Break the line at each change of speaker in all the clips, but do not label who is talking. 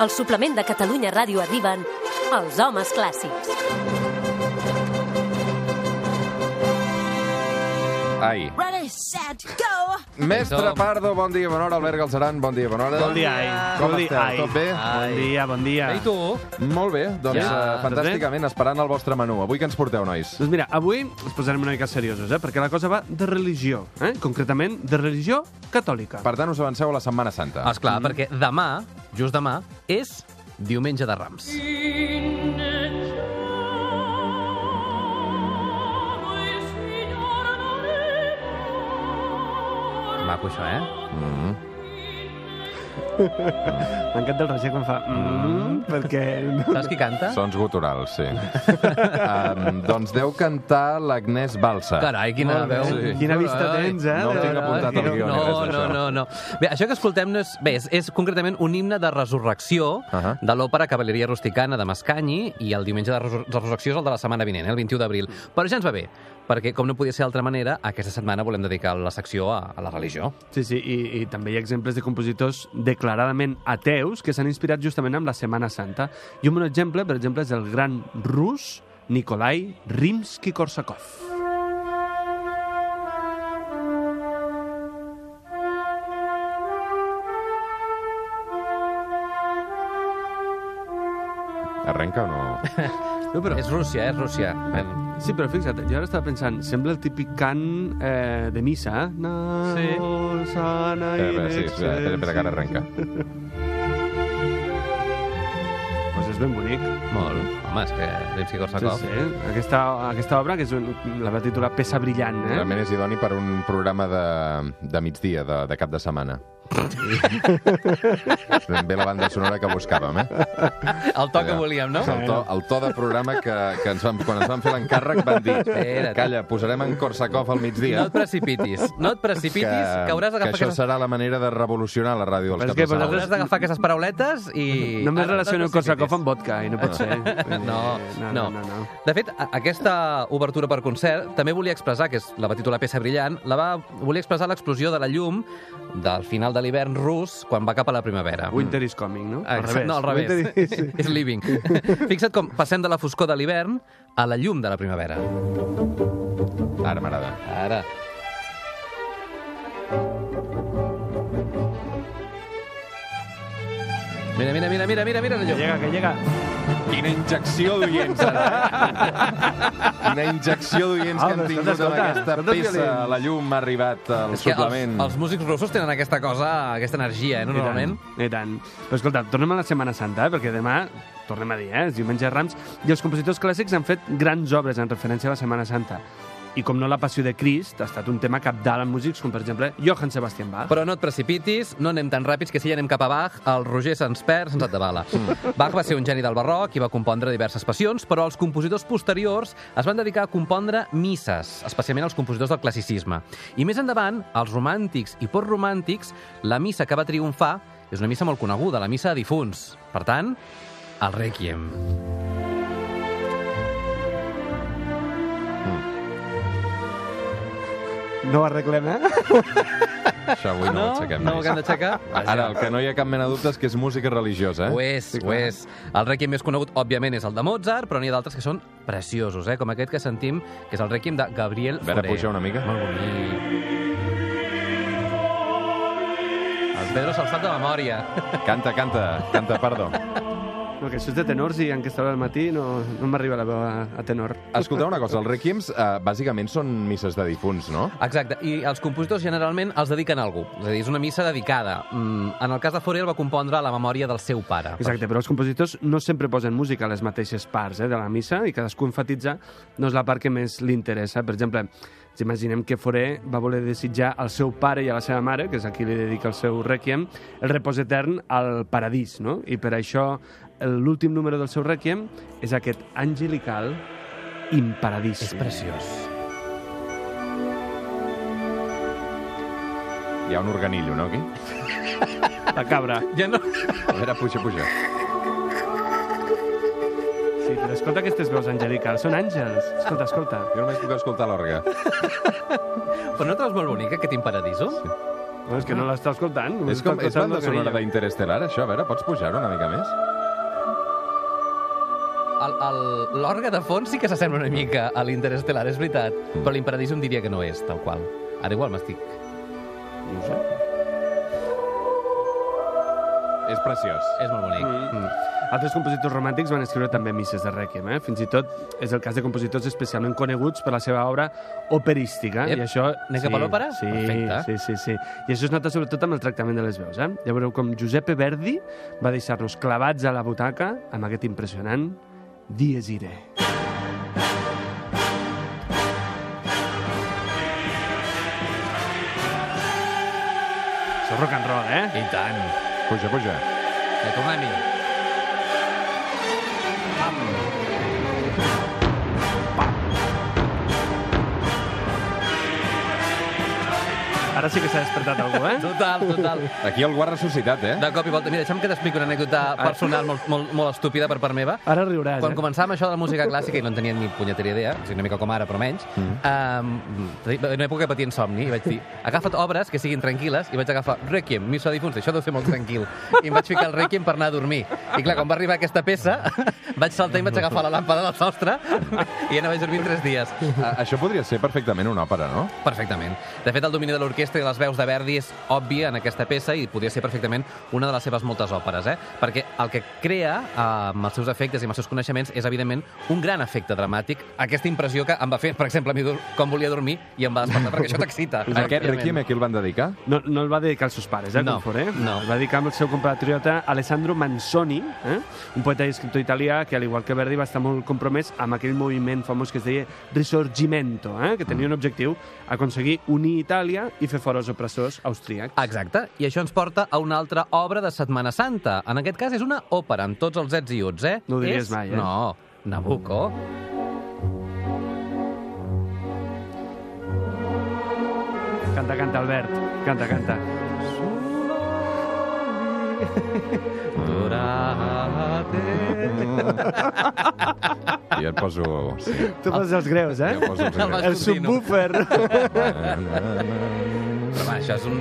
Al suplement de Catalunya Ràdio arriben els homes clàssics.
Ai.
Ready, set, go!
Mestre Pardo, bon dia, bona hora. Albert Galceran, bon dia, bona hora.
Bon dia, ai.
Com
bon dia,
esteu?
ai.
Tot bé?
Bon dia, bon dia.
I tu?
Molt bé, doncs
Ja.
eh, fantàsticament, esperant el vostre menú. Avui que ens porteu, nois?
Doncs mira, avui ens posarem una mica seriosos, eh? perquè la cosa va de religió, eh? concretament de religió catòlica.
Per tant, us avanceu a la Setmana Santa.
Esclar, mm. perquè demà, just demà, és Diumenge de Rams. Maco, això, eh?
M'encanta el Roger quan fa... Mm, perquè...
Saps qui canta?
Sons guturals, sí. um, doncs deu cantar l'Agnès Balsa.
Carai, quina
Molt bé,
veu.
sí.
Quina vista
Carai.
tens, eh?
No ho tinc apuntat al guió ni
No,
res,
no,
això.
no, no. Bé, això que escoltem no és, bé, és, és concretament un himne de resurrecció
Ahà.
de l'òpera Cavalleria Rusticana de Mascanyi i el diumenge de resur resurrecció és el de la setmana vinent, eh, el 21 d'abril. Però ja ens va bé, perquè com no podia ser d'altra manera, aquesta setmana volem dedicar la secció a, a la religió.
Sí, sí, i, i també hi ha exemples de compositors declaradament ateus que s'han inspirat justament amb la Setmana Santa. I un bon exemple, per exemple, és el gran rus Nikolai Rimsky-Korsakov.
Arrenca o no?
No, però...
És Rússia, eh, és Rússia. Ben.
Sí, però fixa't, jo ara estava pensant, sembla el típic cant eh, de missa, eh? Na,
Sí.
Sana
Eh, bé, sí, espera, espera, que ara arrenca.
Pues és ben bonic.
Molt. Home, és que Rimsky
Sí,
Korsakov...
sí. Aquesta, aquesta obra, que és un, la va titular Peça Brillant, eh?
Realment és idoni per un programa de, de migdia, de, de cap de setmana. ben bé la banda sonora que buscàvem, eh?
El to que
Allà.
volíem, no?
El to, el to de programa que, que ens van, quan ens van fer l'encàrrec van dir
Espera't.
calla, posarem en Korsakov al
No
migdia
et precipitis, no et precipitis, que,
que
hauràs d'agafar
això
aquestes
serà la manera de revolucionar la ràdio dels
Però és
caps de
que
setmana.
Hauràs d'agafar aquestes parauletes i...
Només
Ara,
relaciono
no et
Korsakov
precipitis.
amb vodka, i no pot ser. Eh,
No,
no,
no.
no, no.
De fet, a- aquesta obertura per concert també volia expressar, que és la va titular peça brillant, la va volia expressar l'explosió de la llum del final de l'hivern rus quan va cap a la primavera. Mm.
Winter is coming, no?
Ah, Exacte, No, al revés.
Winter is...
És living. Fixa't com passem de la foscor de l'hivern a la llum de la primavera.
Ara m'agrada.
Ara. Mira, mira, mira, mira, mira, mira la llum.
Llega, que llega.
Quina injecció d'oients, ara. Ah, Quina injecció d'oients que
Home,
hem tingut
escolta,
amb
escolta,
aquesta
escolta,
peça.
violins.
La llum ha arribat al
És que els,
suplement.
els músics russos tenen aquesta cosa, aquesta energia, eh, normalment.
I tant, i tant. Però escolta, tornem a la Setmana Santa, eh? perquè demà, tornem a dir, eh? és diumenge de Rams, i els compositors clàssics han fet grans obres en referència a la Setmana Santa. I com no la passió de Crist, ha estat un tema capdalt en músics com, per exemple, Johann Sebastian Bach.
Però no et precipitis, no anem tan ràpids que si ja anem cap a Bach, el Roger se'ns perd sense de bala. Bach va ser un geni del barroc i va compondre diverses passions, però els compositors posteriors es van dedicar a compondre misses, especialment els compositors del classicisme. I més endavant, els romàntics i postromàntics, la missa que va triomfar és una missa molt coneguda, la missa de difunts. Per tant, el Requiem.
No ho arreglem, eh?
Això avui no, ho aixequem
no ho
més.
haguem d'aixecar?
Ara, el que no hi ha cap mena de dubte és que és música religiosa,
Ho
eh?
és, ho és. El rèquiem més conegut, òbviament, és el de Mozart, però n'hi ha d'altres que són preciosos, eh? com aquest que sentim, que és el rèquiem de Gabriel
A veure,
Fauré.
puja una mica.
Molt bonic. El Pedro se'ls sap de memòria.
Canta, canta, canta, perdó.
No, que això és de tenors i en aquesta hora del matí no, no m'arriba la veu a, a tenor.
Escolteu una cosa, els requiems eh, bàsicament són misses de difunts, no?
Exacte, i els compositors generalment els dediquen a algú. És a dir, és una missa dedicada. Mm, en el cas de Fauré el va compondre a la memòria del seu pare.
Exacte, però els compositors no sempre posen música a les mateixes parts eh, de la missa i cadascú enfatitza doncs, la part que més li interessa. Per exemple, ens imaginem que Foré va voler desitjar al seu pare i a la seva mare, que és a qui li dedica el seu rèquiem, el repòs etern al paradís, no? I per això el- l'últim número del seu rèquiem és aquest angelical
És
imparadíssim.
preciós.
Hi ha un organillo, no, aquí?
La cabra.
Ja no...
A veure, puja, puja.
Sí, però escolta aquestes veus angelicals, són àngels. Escolta, escolta.
Jo només puc escoltar l'orga.
Però no trobes molt bonic aquest imparadiso? Sí.
No, és que no l'està escoltant.
És, com, és banda sonora d'Interestel·lar, això? A veure, pots pujar-ho una mica més?
El- el- L'orgue de fons sí que s'assembla una mica a l'Interestelar, és veritat, però l'Imperadíssim diria que no és, tal qual. Ara igual m'estic...
eh? És preciós.
És molt bonic. Mm.
Altres compositors romàntics van escriure també misses de Rèquiem, eh? Fins i tot és el cas de compositors especialment coneguts per la seva obra operística.
Ep,
I això...
anem cap a l'òpera?
Sí,
Perfecte.
sí, sí, sí. I això es nota sobretot amb el tractament de les veus, eh? Ja veureu com Giuseppe Verdi va deixar-nos clavats a la butaca amb aquest impressionant Dies Irae. Això és rock and roll, eh?
I tant.
Puja, puja.
Que tornem-hi.
Ara sí que s'ha despertat algú, eh?
Total, total.
Aquí algú ha ressuscitat, eh?
De cop i volta. Mira, deixa'm que t'expliqui una anècdota personal molt, molt, molt estúpida per part meva.
Ara riuràs,
Quan
eh?
començàvem això de la música clàssica, i no en tenia ni punyetera idea, o sigui, una mica com ara, però menys, mm. um, en una època que patia insomni, i vaig dir, agafa't obres que siguin tranquil·les, i vaig agafar Requiem, Missa difunta, això deu ser molt tranquil. I em vaig ficar el Requiem per anar a dormir. I clar, quan va arribar aquesta peça, vaig saltar i vaig agafar la làmpada del sostre, i ja no vaig dormir tres dies.
A- Això podria ser perfectament una òpera, no?
Perfectament. De fet, el domini de l'orquestra i de les veus de Verdi és obvi en aquesta peça i podria ser perfectament una de les seves moltes òperes, eh? Perquè el que crea, eh, amb els seus efectes i amb els seus coneixements, és, evidentment, un gran efecte dramàtic. Aquesta impressió que em va fer, per exemple, a mi dur- com volia dormir i em va despertar, perquè això t'excita.
Aquest Requiem a qui el van dedicar?
No, no el va dedicar als seus pares, eh,
No,
Confort, eh?
no.
El va dedicar al seu compatriota Alessandro Manzoni, eh? un poeta i escriptor italià que, al igual que Verdi, va estar molt compromès amb aquell moviment famós que es deia Risorgimento, eh? que
Mm.
tenia un objectiu, aconseguir unir Itàlia i fer fora els opressors austríacs.
Exacte, i això ens porta a una altra obra de Setmana Santa. En aquest cas és una òpera, amb tots els ets i uts, eh?
No ho diries
és...
mai, eh?
No, Nabucco.
Canta, canta, Albert. Canta, canta.
Durate...
I et poso... Sí.
Tu poses els greus, eh?
Jo poso els
El Ah. vas-
ingressos.
El subwoofer.
Però va, això és un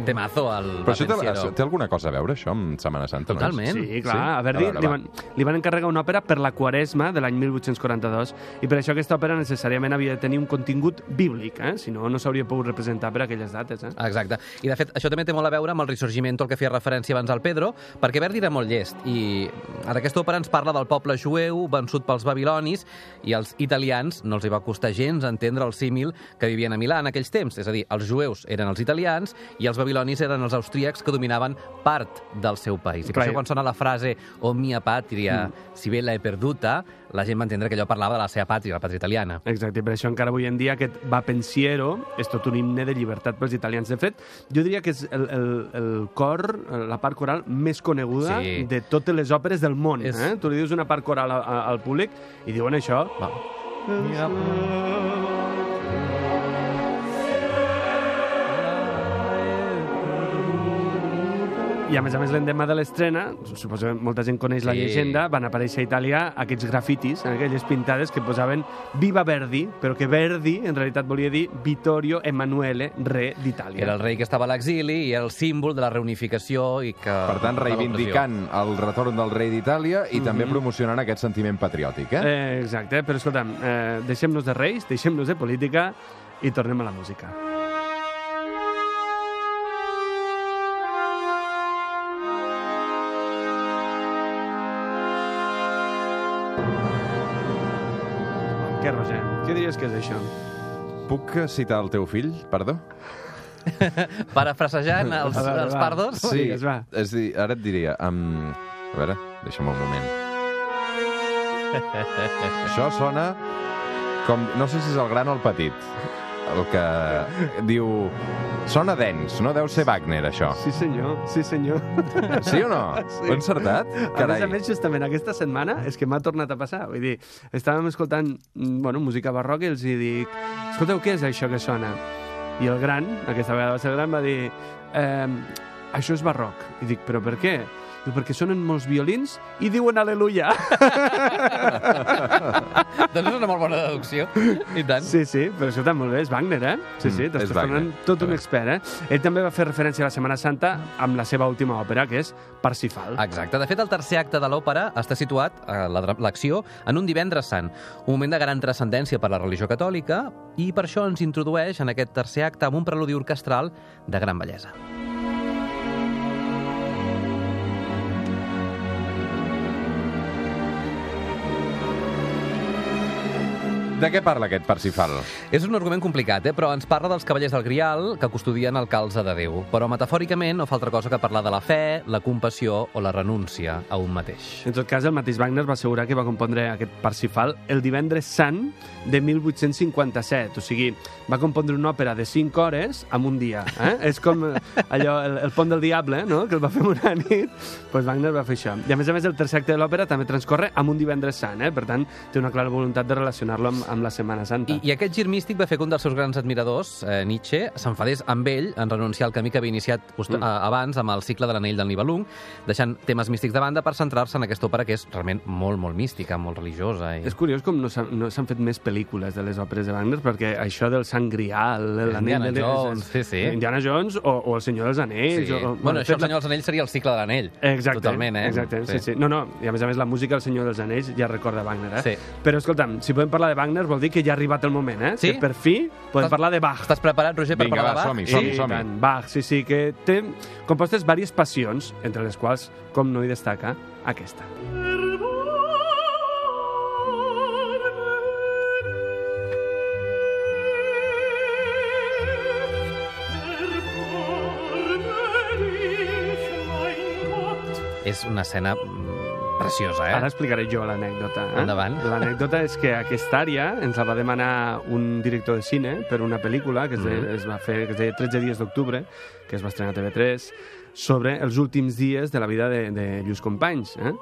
temazo al
Però això té,
Pensiero.
això té alguna cosa a veure, això, amb Setmana Santa? no?
Totalment.
Sí, clar.
Sí?
A Verdi
A veure,
li,
va.
van, li van encarregar una òpera per la Quaresma de l'any 1842 i per això aquesta òpera necessàriament havia de tenir un contingut bíblic, eh? si no, no s'hauria pogut representar per aquelles dates. Eh?
Exacte. I, de fet, això també té molt a veure amb el ressorgiment al que feia referència abans al Pedro, perquè Verdi era molt llest i en aquesta òpera ens parla del poble jueu vençut pels babilonis i als italians no els hi va costar gens entendre el símil que vivien a Milà en aquells temps. És a dir, els jueus eren els italians i els babilonis eren els austríacs que dominaven part del seu país. I per
Clar,
això
i- Mm.
quan sona la frase «O mia patria, si bé l'he perduta», la gent va entendre que allò parlava de la seva pàtria, la pàtria italiana.
Exacte, i per això encara avui en dia aquest va pensiero és tot un himne de llibertat pels italians. De fet, jo diria que és el, el, el cor, la part coral més coneguda
Sí.
sí. de totes les òperes del món.
És-
És... Eh? Tu li dius una part coral a, a, al públic i diuen això...
Va.
I a més a més l'endemà de l'estrena, suposo que molta gent coneix la
Sí.
llegenda, van aparèixer a Itàlia aquests grafitis, aquelles pintades que posaven Viva Verdi, però que Verdi en realitat volia dir Vittorio Emanuele, re d'Itàlia.
Era el rei que estava a l'exili i era el símbol de la reunificació i que...
Per tant,
Ah,
de l'opressió.
reivindicant el retorn del rei d'Itàlia i també promocionant aquest sentiment patriòtic, eh?
Mhm. Eh, exacte, però escolta'm, eh, deixem-nos de reis, deixem-nos de política i tornem a la música. Què, Roger? Què diries que és això?
Puc citar el teu fill, perdó?
Parafrasejant els,
A veure,
els
va.
pardos.
Sí. digues, va.
És a dir, ara et diria... Um, a veure, deixa'm un moment. Això sona com... No sé si és el gran o el petit. El que diu... Sona dens, no deu ser Wagner, això.
Sí, senyor, sí, senyor.
Sí o no?
Sí.
Ho he encertat?
A
Carai.
més a més, justament aquesta setmana és que m'ha tornat a passar. Vull dir, estàvem escoltant mm, bueno, música barroca i els hi dic escolteu, què és això que sona? I el gran, aquesta vegada va ser el gran, va dir ehm, això és barroc. I dic, però per què? Diu, perquè sonen molts violins i diuen aleluia.
doncs és una molt bona deducció. I tant.
Sí, sí, però escolta, molt bé, és Wagner, eh? Sí, sí,
Mm,
t'estàs
és Wagner.
tornant tot un
Correcte.
expert, eh? Ell també va fer referència a la Setmana Santa amb la seva última òpera, que és Parsifal.
Exacte. De fet, el tercer acte de l'òpera està situat, eh, la dra- l'acció, en un divendres sant, un moment de gran transcendència per la religió catòlica, i per això ens introdueix en aquest tercer acte amb un preludi orquestral de gran bellesa.
De què parla aquest Parsifal?
És un argument complicat, eh? però ens parla dels cavallers del Grial que custodien el calze de Déu. Però metafòricament no fa altra cosa que parlar de la fe, la compassió o la renúncia a un mateix.
En tot cas, el mateix Wagner va assegurar que va compondre aquest Parsifal el divendres sant de 1857. O sigui, va compondre una òpera de 5 hores en un dia. Eh? És com eh, allò, el, el pont del diable, no? que el va fer en una nit. pues Wagner va fer això. I a més a més, el tercer acte de l'òpera també transcorre amb un divendres sant. Eh? Per tant, té una clara voluntat de relacionar-lo amb, amb la Setmana Santa.
I, I aquest gir místic va fer que un dels seus grans admiradors, eh, Nietzsche, s'enfadés amb ell en renunciar al camí que havia iniciat just, mm. a, abans amb el cicle de l'anell del Nibelung, deixant temes místics de banda per centrar-se en aquesta òpera que és realment molt, molt mística, molt religiosa. I...
És curiós com no s'han no s'han fet més pel·lícules de les òperes de Wagner, perquè això del Sant Grial... l'Anell
Indiana
de-
Jones, sí, sí.
Indiana Jones o, o El Senyor dels Anells...
Sí.
O, o,
Bueno, bueno,
de
això,
fet,
el Senyor dels Anells, seria el cicle de l'anell.
Exacte,
Totalment, eh?
Exacte, sí. sí, No, no, i a més a més la música del Senyor dels Anells ja recorda Wagner, eh?
Sí.
Però escolta'm, si podem parlar de Wagner vol dir que ja ha arribat el moment, eh?
Sí?
Que per fi podem
Estàs-
parlar de Bach.
Estàs preparat, Roger, per
Vinga,
parlar
va,
de Bach?
som-hi,
I
som-hi, som-hi.
tant, Bach, sí, sí, que té compostes diverses passions, entre les quals, com no hi destaca, aquesta.
És una escena mm, preciosa, eh?
Ara explicaré jo l'anècdota. Eh?
Endavant.
L'anècdota és que aquesta àrea ens la va demanar un director de cine per una pel·lícula que es, de,
Mm-hmm.
es va fer que es deia 13 dies d'octubre, que es va estrenar a TV3, sobre els últims dies de la vida de, de Lluís Companys. Eh?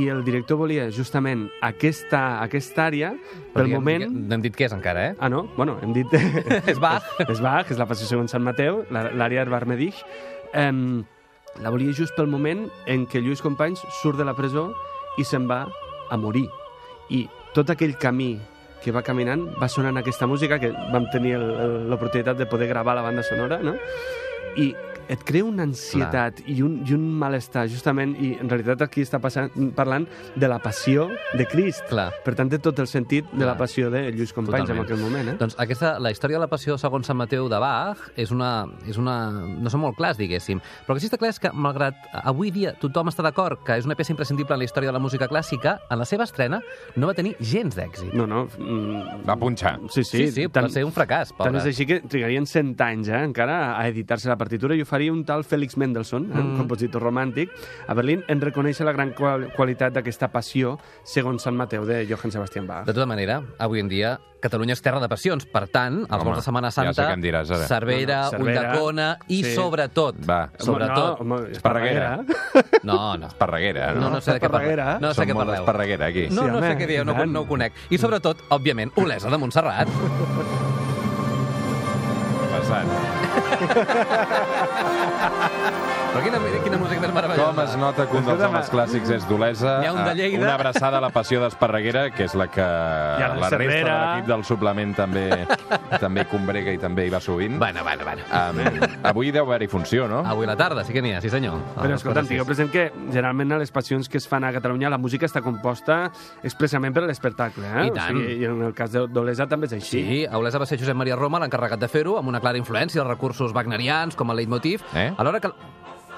I el director volia justament aquesta, aquesta àrea
Però
pel
diguem-
moment...
diguem- No hem dit què és encara, eh?
Ah, no? Bueno, hem dit...
És Bach.
és Bach, és la passió segons Sant Mateu, la- l'àrea Arbarmedich. Um, la volia just pel moment en què Lluís Companys surt de la presó i se'n va a morir. I tot aquell camí que va caminant va sonant aquesta música que vam tenir el- el- l'oportunitat de poder gravar la banda sonora, no? I et crea una ansietat i un, i un malestar, justament, i en realitat aquí està passant, parlant de la passió de Crist.
Clar.
Per tant, té tot el sentit de
Clar.
la passió de Lluís Companys
Totalment.
en aquell moment, eh?
Doncs aquesta, la història de la passió segons Sant Mateu de Bach és una, és una... no són molt clars, diguéssim. Però el que sí que està clar és que, malgrat avui dia tothom està d'acord que és una peça imprescindible en la història de la música clàssica, en la seva estrena no va tenir gens d'èxit.
No, no. mm,
Va punxar.
Sí,
Sí, sí.
sí, sí va ser un fracàs,
Tant
pobre.
és així que trigarien 100 anys eh, encara a editar-se la partitura i ho faria un tal Félix Mendelssohn, eh, un
Mm.
compositor romàntic, a Berlín, en reconèixer la gran qual qualitat d'aquesta passió segons Sant Mateu de Johann Sebastian Bach.
De tota manera, avui en dia, Catalunya és terra de passions. Per tant, els
Home,
vols de Setmana
ja sé
Santa,
què em diràs ara.
Cervera,
No, no, Cervera,
Ulldecona i,
sí.
sobretot,
Va.
sobretot...
Home, no, home,
Esparreguera.
eh?
No, no.
Esparreguera,
No,
no?
no sé de què
Esparreguera,
parleu.
eh?
No sé
Som
què
molt
parleu.
d'Esparreguera, aquí.
No,
Sí,
no sé
home,
què dieu, no,
i tant.
no ho conec. I sobretot, òbviament, Olesa de Montserrat.
Passant.
Però quina, quina música més meravellosa.
Com es nota que un dels
Escolta'm,
homes clàssics és d'Olesa?
N'hi ha un de
eh,
Lleida.
Una abraçada a la passió d'Esparreguera, que és la que
la
la resta de
Cervera.
l'equip del suplement també també combrega i també hi va sovint.
Bueno, bueno, bueno.
Um, avui deu haver-hi funció, no?
Avui a la tarda sí que n'hi ha, Ah, sí senyor.
Però escolta, tingueu present que generalment a les passions que es fan a Catalunya la música està composta expressament per a l'espectacle. Eh?
I tant.
O sigui, I en el cas de- d'Olesa també és així.
Sí, a Olesa va ser Josep Maria Roma l'encarregat de fer-ho, amb una clara influència dels recursos wagnerians, com el leitmotiv,
Eh?
alhora que...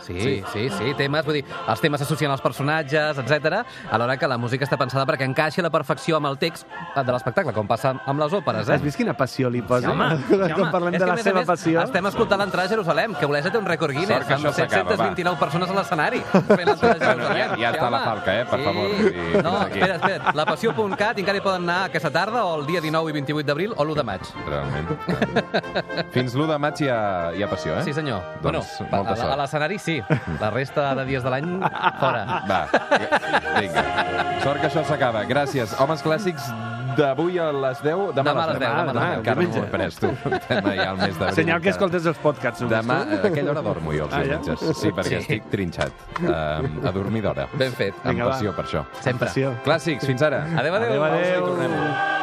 Sí, sí, sí, sí, temes, vull dir, els temes s'associen als personatges, etc. alhora que la música està pensada perquè encaixi a la perfecció amb el text eh, de l'espectacle, com passa amb les òperes, eh?
Has vist quina passió li
Sí,
posa?
home, sí, home.
Quan parlem
És que,
de
a
la
més a
seva
més,
passió...
Estem escoltant l'entrada a Jerusalem, que Olesa té un rècord
Sort
Guinness,
que
amb
això s'acaba,
729 persones a l'escenari. fent l'entrada a
Bueno,
Jerusalem.
ja- ja està
home.
la falca, eh, per favor, vull dir,
No,
fins aquí.
espera, espera. La passió.cat encara hi poden anar aquesta tarda o el dia 19 i 28 d'abril o l'1 de maig.
Eh? Realment. Fins l'1 de maig hi ha, hi ha passió, eh?
Sí, senyor.
Doncs,
Bueno,
molta
a- a
sort.
a l'escenari sí. La resta de dies de l'any, fora.
Va, vinga. Sort que això s'acaba. Gràcies. Homes clàssics d'avui a les 10... Demà,
Demà a les deu, demà a les
Demà,
deu.
Encara no
Diumenge.
m'ho he pres, tu. Demà ja el mes d'abril.
Senyal que
encara.
escoltes els podcasts. només,
Demà, a
tu.
aquella hora dormo jo els
Ah, ja?
diumenges. Sí, perquè
Sí.
estic trinxat. Um, a dormir d'hora.
Ben fet.
Amb
Vinga, va.
passió per això.
Sempre.
Passió.
Clàssics, fins ara.
Adéu, adéu.
Adéu,
Pausa i
adéu.
tornem.